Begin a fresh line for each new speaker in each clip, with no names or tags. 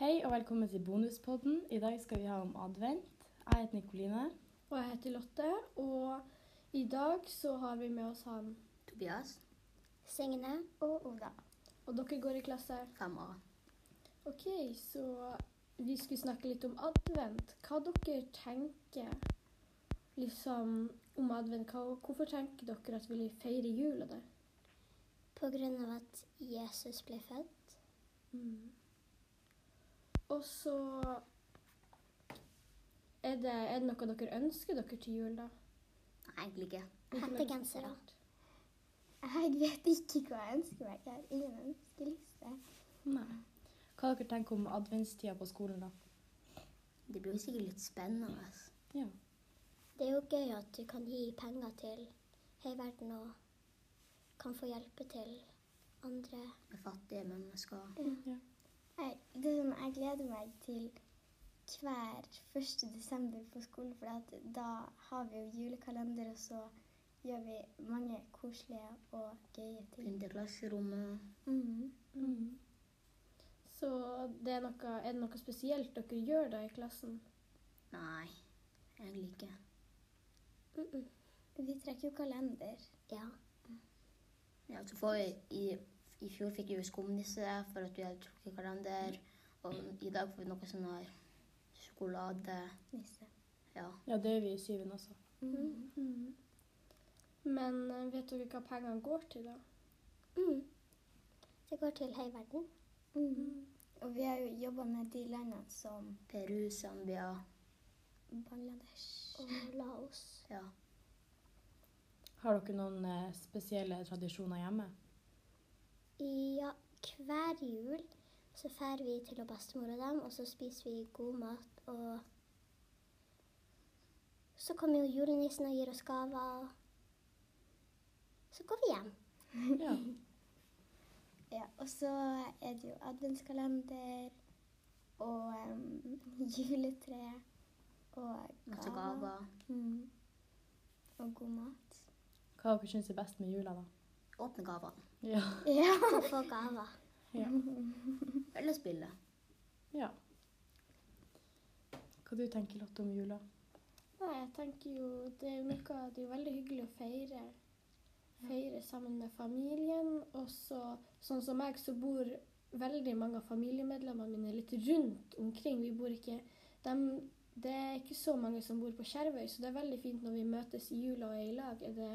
Velkommen til bonuspodden. I dag skal vi ha om advent. Jeg heter Nikoline.
Og jeg heter Lotte, og i dag så har vi med oss han.
Tobias
Signe og Oda.
Og dere går i klasse.
5A.
Ok, så vi skulle snakke litt om advent. Hva dere tenker liksom om advent? Hva, hvorfor tenker dere at vi vil feire jul og det?
På grunn av at Jesus ble født.
Mm. Og så er det, er det noe dere ønsker dere til jul, da?
Nei, egentlig ikke.
Hvilken
Hettegenser,
ønsker
da.
dere?
Jeg vet ikke hva jeg ønsker meg. Jeg har ingen ønskeliste.
Nei. Hva dere tenker om adventstida på skolen, da?
Det blir jo sikkert litt spennende. ass.
Ja.
Det er jo gøy at du kan gi penger til hele verden og kan få hjelpe til andre.
Med fattige mennesker.
Jeg, det er sånn, jeg gleder meg til hver 1. desember på skolen, for at da har vi jo julekalender, og så gjør vi mange koselige og gøye ting.
Pynte klasserommet.
Mm.
Så det er, noe, er det noe spesielt dere gjør da i klassen?
Nei, egentlig ikke.
Vi trekker jo kalender.
Ja. ja så får vi, i, I fjor fikk vi jo skumnisse for at vi hadde trukket kalender. Og i dag får vi noe sånn her sjokolade.
Nisse. Mm.
Ja.
ja, det gjør vi i syvende også.
Mm. Mhm. Men eh, vet dere hva pengene går til, da?
Mm. Det går til hele verden. Mm. Og vi har jo jobba med de landene som
Peru, Zambia.
Bangladesh og Laos.
Ja.
Har dere noen eh, spesielle tradisjoner hjemme?
Ja, hver jul så drar vi til å bestemor og dem, og så spiser vi god mat og Så kommer jo julenissen og gir oss gaver. og Så går vi hjem.
Ja.
Ja, og så er det jo adventskalender og juletre og
Masse gaver.
Mm. Og god mat.
Hva dere syns er best med jula, da?
Åpne gavene.
Ja.
Ja. Og få gaver.
ja.
Eller spille.
ja. Hva du tenker Lotte om jula?
Nei, jeg tenker jo det er jo noe Det er jo veldig hyggelig å feire. Feire sammen med familien. Og så, sånn som meg, så bor veldig mange av familiemedlemmene mine litt rundt omkring. Vi bor ikke dem, Det er ikke så mange som bor på Skjervøy, så det er veldig fint når vi møtes i jula og er i lag. Er det,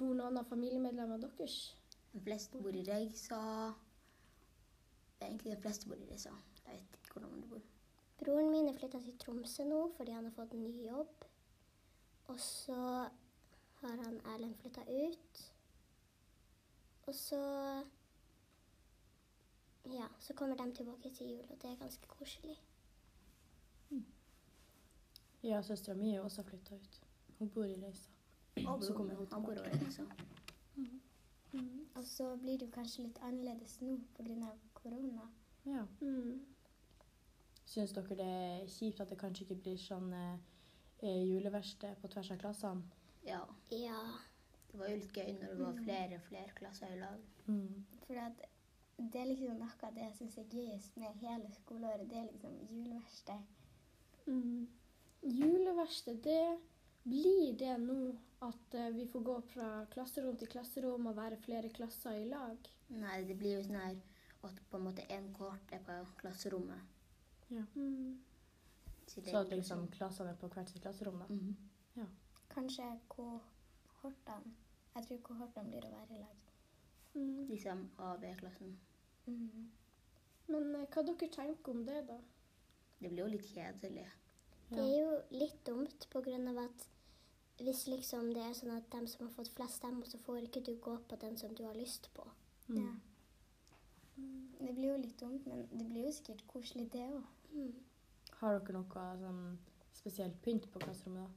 bor noen av familiemedlemmene deres?
De fleste bor i Reisa. Det er egentlig de fleste bor i Reisa. Jeg vet ikke hvordan de bor.
Broren min er flytta til Tromsø nå fordi han har fått en ny jobb. Og så har han Erlend flytta ut. Og så Ja, så kommer de tilbake til jul, og det er ganske koselig.
Ja, søstera mi er også flytta ut. Hun bor i Reisa.
Og
Så kommer hun
broren, han bor
liksom.
over liksom. i Reisa.
Mm. Og så blir det jo kanskje litt annerledes nå pga. korona.
Ja.
Mm.
Syns dere det er kjipt at det kanskje ikke blir sånn eh, eh, juleverksted på tvers av klassene?
Ja.
Ja,
Det var jo litt gøy når det
Mm.
var flere og flere klasser i lag.
Mm.
for det er liksom noe av det jeg syns er gøyest med hele skoleåret. Det er liksom juleverksted.
Mm. Juleverksted, det blir det nå at eh, vi får gå fra klasserom til klasserom og være flere klasser i lag.
Nei, det blir jo sånn her at på en måte en kort er på klasserommet.
Mm.
Så det
Så
er
at liksom klassene er på hvert sitt klasserom, da.
Mhm.
Kanskje kohortene. Jeg tror kohortene blir å være i lag.
Mm.
Liksom A- og B-klassen.
Men eh, hva dere tenker om det, da?
Det blir jo litt kjedelig.
Det er jo litt dumt på grunn av at hvis liksom det er sånn at dem som har fått flest stemmer, så får ikke du gå på den som du har lyst på.
Mm.
Det blir jo litt dumt, men det blir jo sikkert koselig det òg.
Har dere noe sånn spesielt pynt på klasserommet, da?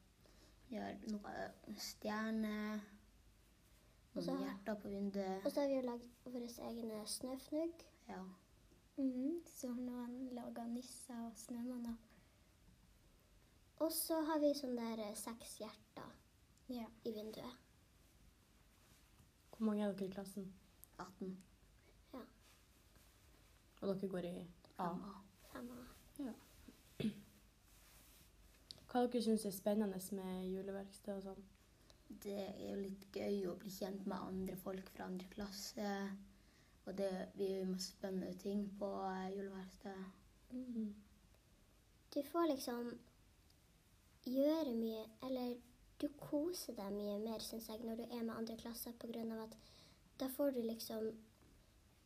Vi har noe eh, stjerne,
Og
noen
så-
hjerter på
Og
vinduet.
så har vi jo lagd våre egne snøfnugg.
Ja.
Mm, så har noen laga nisser og snømanner. Og så har vi sånn der eh, seks hjerter i vinduet.
Hvor mange er dere i klassen?
18.
Og dere går i A.
Fem A.
Fem av.
Hva dere syns er spennende med juleverksted og sånn?
Det er jo litt gøy å bli kjent med andre folk fra andre klasse. Og det, vi gjør jo masse spennende ting på eh, juleverkstedet.
Mm.
Du får liksom gjøre mye, eller du koser deg mye mer, syns jeg, når du er med andre klasser, på grunn av at da får du liksom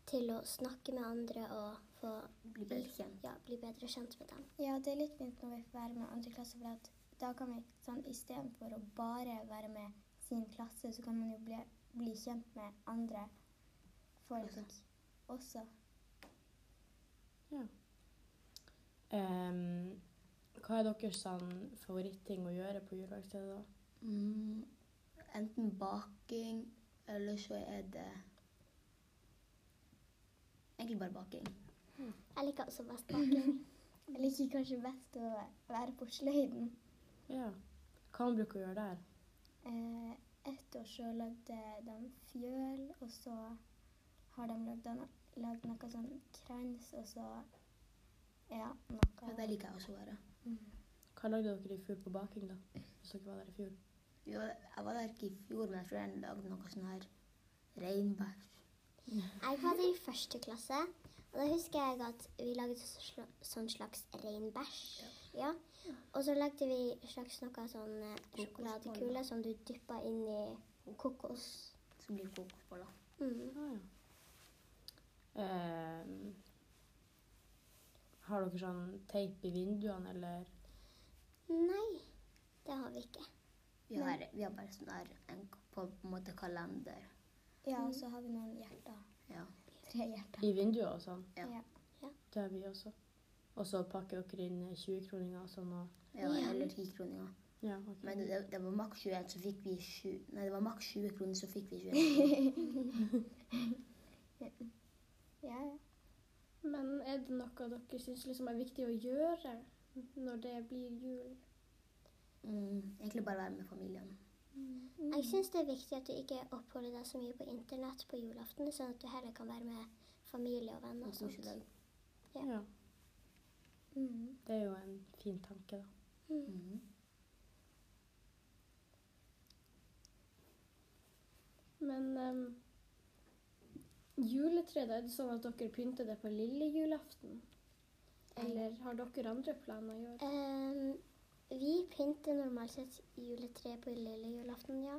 til å snakke med andre og få
Bli bedre kjent.
Ja, bli bedre kjent med dem.
Ja, det er litt fint når vi får være med andre klasser, for at da kan vi sånn istedenfor å bare være med sin klasse, så kan man jo bli, bli kjent med andre folk
Også.
også.
Em, hva er deres sånn, favoritting å gjøre på juleverkstedet? da?
Mm, enten baking, eller så er det Egentlig bare baking.
Jeg liker også best baking.
Jeg liker kanskje best å være på sløyden.
Ja. Hva man bruker å gjøre der?
Eh, ett år så lagde de fjøl, og så har de lagd, an- lagd noe sånn krans, og så ja,
Ja,
noe
der liker jeg også å være.
Hva lagde dere i fjor på baking, da? Hvis dere var der i fjor.
Jo, jeg var der ikke i fjor, men jeg tror jeg lagde noe sånn her reinbær.
Jeg var der i første klasse, og da husker jeg at vi lagde så sl- sånn slags reinbæsj. Ja. Og så lagde vi slags noe sånn eh,
Kokosboller.
sjokoladekule som du dyppa inn i kokos.
Som blir kokosboller.
Mm.
Ah, ja. Em, har dere sånn teip i vinduene, eller
Nei, det har vi ikke.
Vi har, vi har bare sånn her en, på en måte kalender.
Ja,
Mm.
og så har vi noen hjerter.
Ja.
Tre hjerter.
i vinduer og sånn?
Ja.
Ja.
Det har vi også. Og så pakker dere inn 20-kroninger og sånn og
ja eller tikroninger.
Ja, ok.
Men det, det var maks 21, så fikk vi 20 Nei, det var maks 20 kroner, så fikk vi 21.
Ja, ja.
Men er det noe dere syns liksom er viktig å gjøre når det blir jul?
Mm, egentlig bare være med familien.
Jeg syns det er viktig at du ikke oppholder deg så mye på internett på julaften, sånn at du heller kan være med familie og venner
Og
og
kose
sånt.
deg.
ja.
Mm.
Det er jo en fin tanke, da.
Mm.
Men um, juletreet, da, er det sånn at dere pynter det på lille julaften? Eller har dere andre planer i år?
Ehm, vi pynter normalt sett juletreet på lille julaften, ja.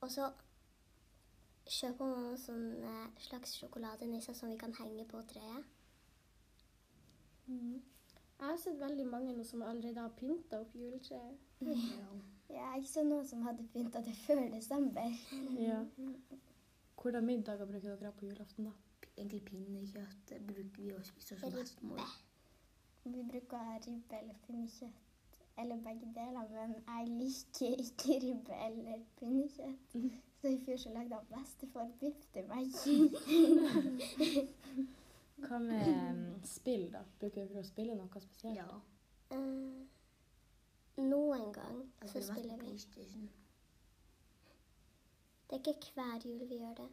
Og så kjøper man sånne slags sjokoladenisser som vi kan henge på treet.
Mm. Jeg har sett veldig mange nå som allerede har pynta opp juletreet.
Ja.
Ja, jeg så noen som hadde pynta det før desember.
Ja. Hvordan middager bruker dere å ha på julaften, da?
Egentlig pinnekjøtt det bruker vi å spise også
Ribbe.
bestemor.
Vi bruker å ha ribbe eller pinnekjøtt, eller begge deler, men jeg liker ikke ribbe eller pinnekjøtt.
Mm.
Så i fjor så lagde han bestefar biff til meg.
Hva med um, em, Mm. spill, da? Bruker dere å spille noe spesielt?
Ja.
Ehm, noen gang
Jeg skulle altså,
så
vært
spiller
på
vi.
PlayStation.
Det er ikke hver jul vi gjør det.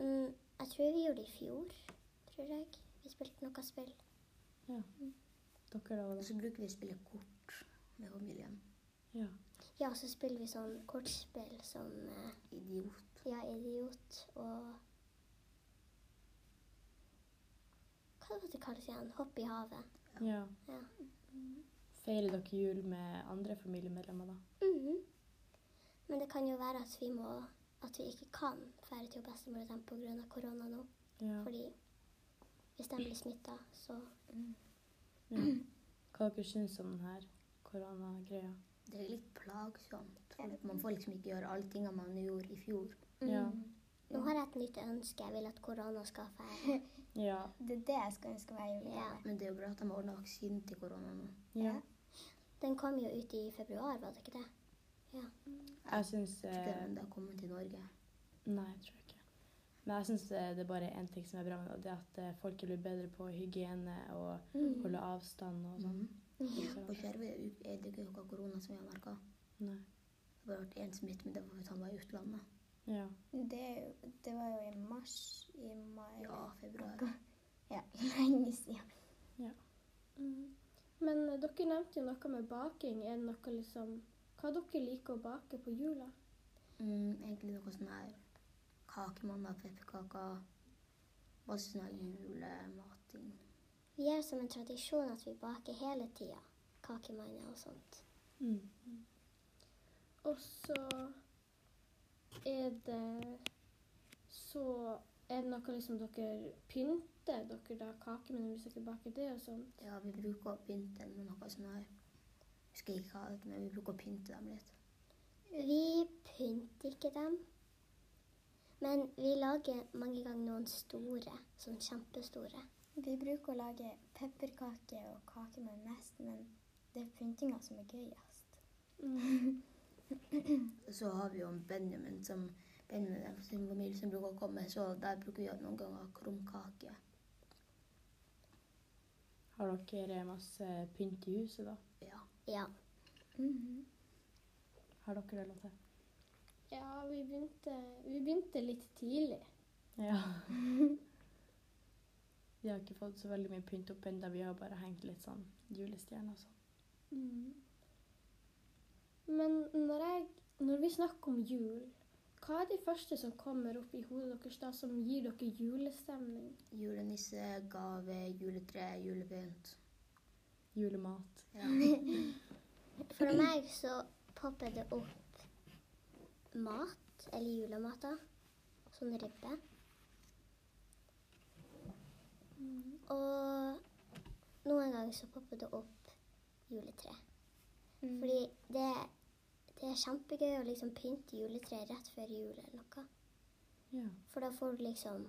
Men jeg tror vi gjorde det i fjor, tror jeg. Vi spilte noe spill.
Dere da,
Og
og da?
så bruker vi å spille kort med familien.
Ja.
Ja, så spiller vi sånn kortspill som eh,
Idiot.
Ja, idiot og Hva var det det kalles igjen? Hopp i havet.
ja.
Ja.
Feirer dere jul med andre familiemedlemmer, da?
Mhm. Men det kan jo være at vi må at vi ikke kan fære til bestemor og dem pga. korona nå.
Ja.
Fordi hvis de blir smitta, så
ja. Hva dere syns om den her koronagreia?
Det er litt plagsomt. for Man får liksom ikke gjøre alle tingene man gjorde i fjor.
Ja.
Mm.
Nå har jeg et nytt ønske. Jeg vil at korona skal feire.
Ja.
Det er det jeg skal ønske meg i
Ja.
julegave.
Men det er jo bra at de har ordna vaksinen til korona nå.
ja.
Den kom jo ut i februar, var det ikke det?
Jeg syns
Tror ikke
eh,
de har kommet til Norge.
Nei, jeg tror ikke. Men jeg syns det er bare én ting som er bra med det, og det er at eh, folk blir bedre på hygiene og
Mm.
holde avstand og sånn.
Mm. Ja, På Skjervøy er det- er det ikke noe korona som vi har merka.
Nei.
Det har bare vært én smitte, men det var fordi han var i utlandet.
Ja.
Det, er jo- det var jo i mars, i mai
Ja, februar.
noe.
Ja, lenge siden.
Mm. Men eh, dere nevnte jo noe med baking. Er det noe liksom Hva dere liker å bake på jula?
Mm, egentlig noe sånn her kakemandag, pepperkaker, masse sånn her julemating.
Vi har som en tradisjon at vi baker hele tida. Kakemanner og sånt.
Mm.
Og så er det Så er det noe liksom dere pynter dere da kaker med hvis dere baker det og sånn?
Ja, vi bruker å pynte den med noe sånn her. Husker ikke hva det heter, men vi bruker å pynte dem litt.
Vi pynter ikke dem. Men vi lager mange ganger noen store, sånn kjempestore.
Vi bruker å lage pepperkaker og kaker med mest, men det er pyntinga som er gøyest.
Så har vi jo en Benjamin som Benjamin er fra sin familie som bruker å komme, så der bruker vi noen ganger krumkake.
Har dere masse pynt i huset, da?
Ja.
Ja.
Mhm.
Har dere det, Lotte?
Ja, vi begynte, vi begynte litt tidlig.
Ja. Vi har ikke fått så veldig mye pynt opp ennå. Vi har bare hengt litt sånn julestjerner og sånn.
Men når, jeg, når vi snakker om jul, hva er de første som kommer opp i hodet deres da, som gir dere julestemning?
Julenisse, gave, juletre, julepynt.
Julemat.
Ja.
For meg så popper det opp mat, eller julemat, da. Sånn ribbe.
Mhm.
Og noen ganger så popper det opp juletre. Fordi det, det er kjempegøy å liksom pynte juletre rett før jul eller noe.
Ja.
For da får du liksom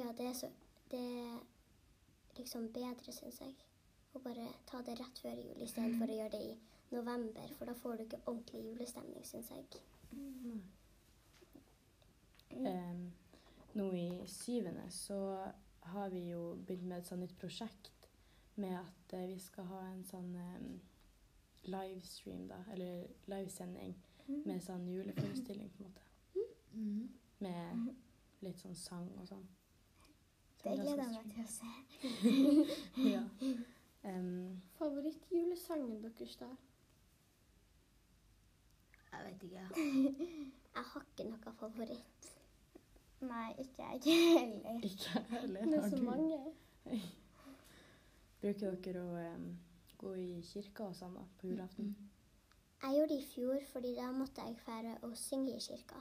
Ja, det er så Det er liksom bedre, syns jeg, å bare ta det rett før jul istedenfor å gjøre det i november, for da får du ikke ordentlig julestemning, syns jeg.
Em, Ehm, nå i syvende så har vi jo begynt med et sånt nytt prosjekt med at eh, vi skal ha en sånn em, livestream, da, eller livesending med sånn juleforestilling, på en måte.
Mm.
Med litt sånn sang og sånn. Så
Det
er
gleder
ganske
jeg meg til å se.
spennende. Ja. Ehm, Em,
Favorittjulesangen deres da?
Jeg vet ikke.
Jeg har ikke noe favoritt.
Nei, ikke jeg heller.
ikke jeg heller.
Det er
Har
så
du-
mange.
Bruker dere å em, gå i kirka og sånn da, på julaften?
Mm.
Jeg gjorde det i fjor, fordi da måtte jeg fære og synge i kirka.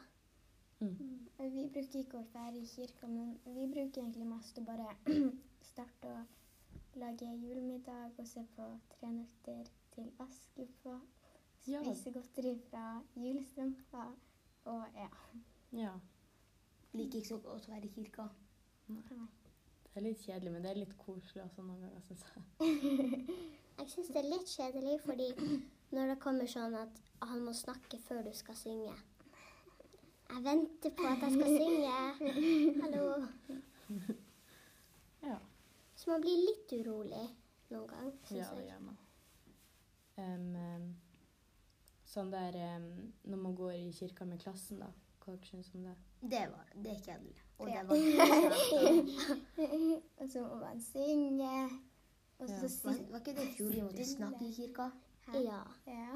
Mm.
Vi bruker ikke å være i kirka, men vi bruker egentlig mest å bare starte å lage julemiddag og se på Tre nøtter til Askepott.
Ja.
Spise godteri fra julestrømpa. Og ja.
Ja.
Liker ikke så godt å være i kirka.
Det er litt kjedelig, men det er litt koselig også noen ganger, syns jeg.
Jeg syns det er litt kjedelig, fordi når det kommer sånn at han må snakke før du skal synge Jeg venter på at jeg skal synge. Hallo.
Ja.
Så man blir litt urolig noen gang, syns
Ja, det
jeg.
gjør man. Em, em, sånn der em, når man går i kirka med klassen, da. Hva dere synes om det?
Det var det. er kjedelig. Og det
Ja.
var ikke
Og så må man synge. Og så
Ja.
si
Var, var ikke det i fjor vi måtte snakke i kirka?
Hæ?
Ja.
Ja,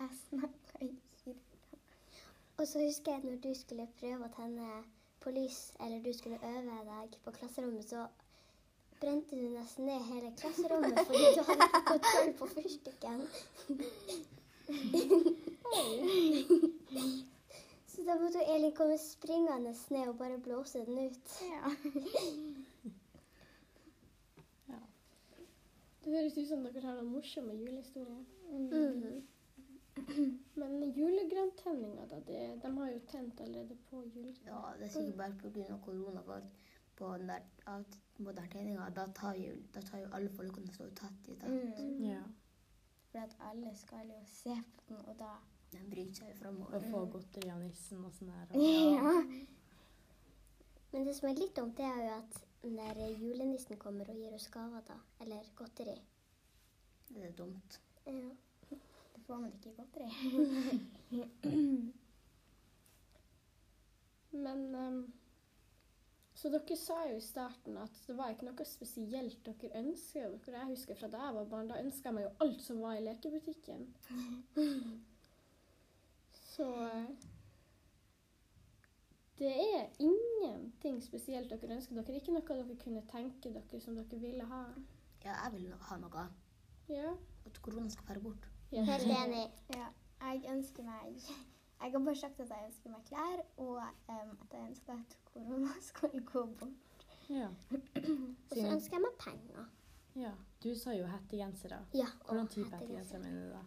jeg snakker i kirka.
Og så husker jeg når du skulle prøve å tenne på lys, eller du skulle øve deg på klasserommet, så brente du nesten ned hele klasserommet fordi du hadde ikke kontroll på fyrstikken. Så da måtte jo Elin komme springende ned og bare blåse den ut.
Ja.
Det høres ut som dere har noen morsomme julehistorier.
Mhm.
Men julegrønntenninga, da? Det, de har jo tent allerede på juletreet.
Ja, det er sikkert bare pga. korona. For at på den der at moderne tegninga, da tar jo, da tar jo alle folkene som står tatt i tatt.
Mm.
Ja.
For at alle skal jo se på den, og da
De bryter seg jo
Å
framover.
få godteri av nissen og sånn der. Og,
Ja.
Men det som er litt dumt, det er jo at den der julenissen kommer og gir oss gaver, da. Eller godteri.
Det er dumt.
Ja.
Da får man ikke godteri.
Men ehm, Så dere sa jo i starten at det var ikke noe spesielt dere ønska dere. Jeg husker fra da jeg var barn, da ønska jeg meg jo alt som var i lekebutikken. Så eh, det er ingenting spesielt dere ønsker dere. Ikke noe dere kunne tenke dere som dere ville ha.
Ja, jeg vil ha noe.
Ja.
At korona skal være bort.
Ja.
Helt enig.
Ja, jeg ønsker meg Jeg har bare sagt at jeg ønsker meg klær, og em, at jeg ønsker at korona skal gå bort.
Ja.
Og så ønsker jeg meg penger.
ja. Du sa jo hettegensere.
Ja,
Hvordan
og
type
hettegenser.
hettegenser mener du da?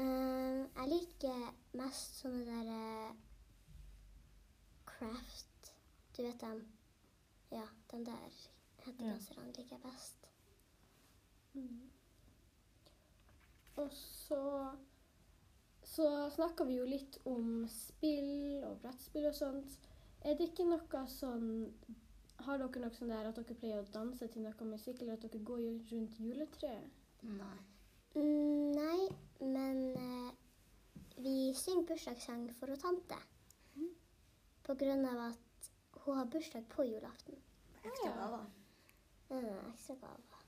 Eh, jeg liker mest sånne der eh, craft Du vet dem? Ja, den der hettegenserne liker jeg best.
Og så, så snakka vi jo litt om spill og brettspill og sånt. Er det ikke noe sånn Har dere noe sånn der at dere pleier å danse til noe musikk, eller at dere går jo rundt juletreet?
Nei.
Mm, nei, men eh, vi synger bursdagssang for hun tante.
Mhm.
På grunn av at hun har bursdag på julaften.
Ekstra gaver.
Mm, ekstra gave.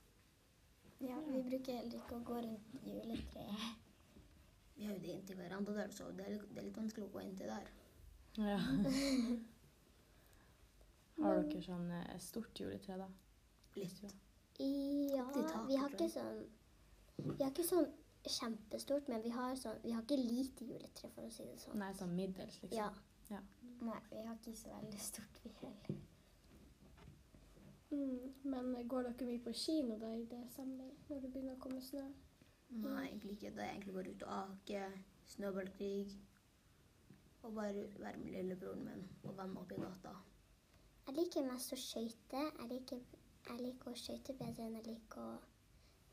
Ja, Vi bruker heller ikke å gå rundt juletreet.
Vi har jo det inntil hverandre der, så det er, litt- det er litt vanskelig å gå inntil der.
Ja. Har dere sånn eh, stort juletre, da?
Litt.
Ja,
Til taket,
vi
tror
har ikke
jeg.
sånn Vi har ikke sånn kjempestort, men vi har sånn Vi har ikke lite juletre, for å si det sånn.
Nei, sånn middels, liksom.
Ja.
Nei, vi har ikke så veldig stort, vi heller.
Mm. Men går dere mye på kino da i desember, når det begynner å komme snø?
Nei, egentlig ikke. Det er egentlig bare ut og ake, snøballkrig. Og bare være med lillebroren min og vennene oppe i gata.
Jeg liker mest å skøyte. Jeg liker, jeg liker å skøyte bedre enn jeg liker å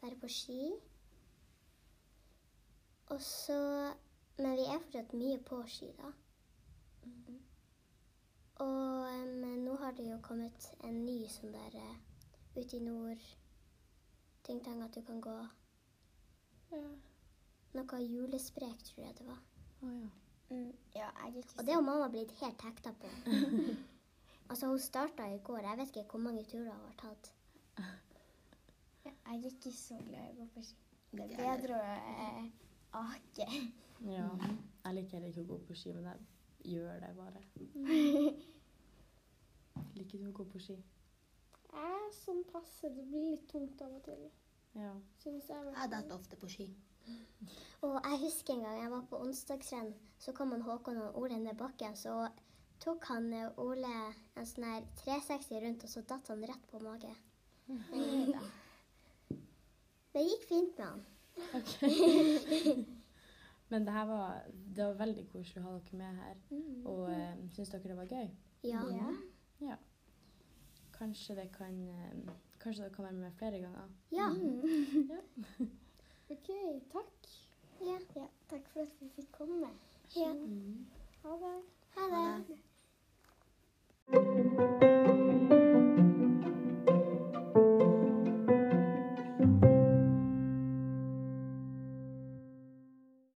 være på ski. Og så Men vi er fortsatt mye på ski, da. Mhm. Og em, nå har det jo kommet en ny sånn der eh, ute i nord ting-tang at du kan gå
Ja.
Noe julesprek, tror jeg det var.
Å, ja.
Mm, ja, jeg er ikke
Og det har mamma blitt helt hekta på. altså, hun starta i går. Jeg vet ikke hvor mange turer hun har tatt.
så, jeg er ikke så glad i å gå på ski. Det er
Ikke jeg
bedre å eh, ake.
ja. Jeg liker heller ikke å gå på ski, men jeg gjør det bare. Mm. Liker du å gå på ski?
Jeg sånn passe. Det blir litt tungt av og til,
Ja.
syns jeg. i hvert
Jeg
fall.
detter ofte på ski.
Og jeg husker en gang jeg var på onsdagsrenn, så kom han Håkon og Ole ned bakken. Så tok han eh, Ole en sånn her 360 rundt, og så datt han rett på mage. Det gikk fint med han.
Men det her var, det var veldig koselig å ha dere med her. Og eh, syns dere det var gøy?
Ja.
Mm. Ja.
Kanskje det kan eh, Kanskje dere kan være med flere ganger?
Ja.
Mm.
OK, takk.
ja.
Ja, takk for at vi fikk komme.
ja.
Mm.